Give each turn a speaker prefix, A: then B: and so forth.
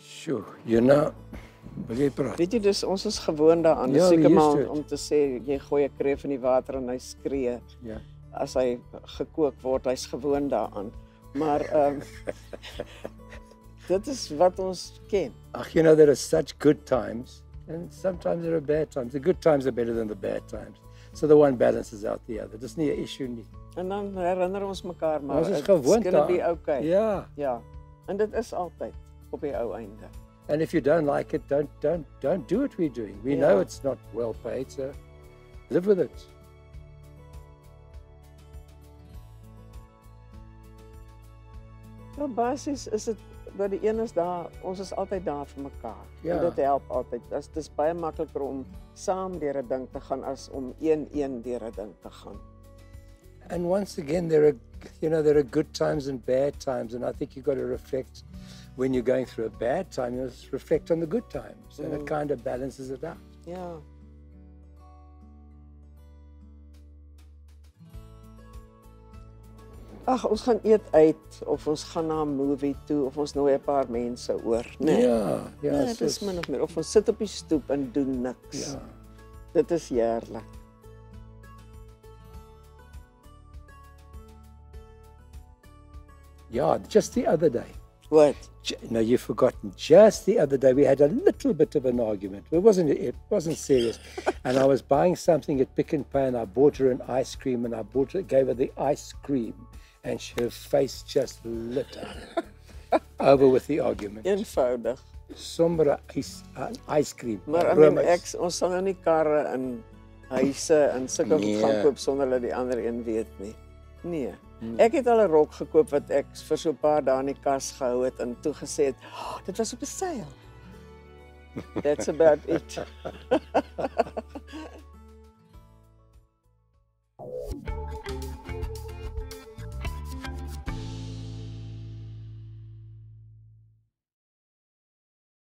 A: Sjoe, Jana, wil jy praat?
B: Weet jy dis ons is gewoond daaraan. Dis
A: Ja,
B: seker
A: hier
B: maar
A: is dit.
B: om te sê jy gooi 'n kreef in die water en hy skree
A: Ja.
B: as hy gekook word. Hy's gewoond daaraan. Maar ehm dit is wat ons ken.
A: Ach, you know, there are such good times, and sometimes there are bad times. The good times are better than the bad times. So the one balances out the other. Dis nie 'n issue nie.
B: En dan herinner ons mekaar maar.
A: Ons is
B: it's
A: gewoond
B: gonna be
A: daaraan.
B: okay.
A: Ja.
B: Ja. En dit is altyd op die ou einde.
A: And if you don't like it, don't don't don't do what we're doing. We
B: Ja.
A: know it's not well paid, so live with it.
B: Nou basies is dit dat die een is daar, ons is altyd daar vir mekaar.
A: Ja.
B: En dit help altyd. Dit is dis baie makliker om saam deur 'n ding te gaan as om een-een deur 'n ding te gaan.
A: And once again, there are you know there are good times and bad times, and I think you've got to reflect when you're going through a bad time. You must reflect on the good times, and
B: Mm.
A: it kind of balances it out.
B: Ja. Ag, ons gaan eet uit of ons gaan na 'n movie toe of ons nooi 'n paar mense oor, né? Nee.
A: Yeah, yeah.
B: Ja,
A: it's
B: dit is
A: just-
B: min of meer of ons sit op die stoep en doen niks.
A: yeah.
B: Dit is heerlik.
A: Yeah, just the other day.
B: Wat?
A: J- No, you've forgotten. Just the other day, we had a little bit of an argument. It wasn't. It wasn't serious. and I was buying something at Pick and Pay, and I bought her an ice cream, and I bought her, gave her the ice cream, and she, her face just lit up. Over with the argument.
B: Eenvoudig.
A: Sombere ice, uh, ice cream.
B: Maar I mean, ek ons sal nou nie karre in huise en sulke goed
A: Nee.
B: gaan koop sonder dat die ander een weet nie. Nee. Ek het al 'n rok gekoop wat ek vir so 'n paar dae in die kas gehou het en toe gesê het, oh, dit was op 'n sale. That's about it.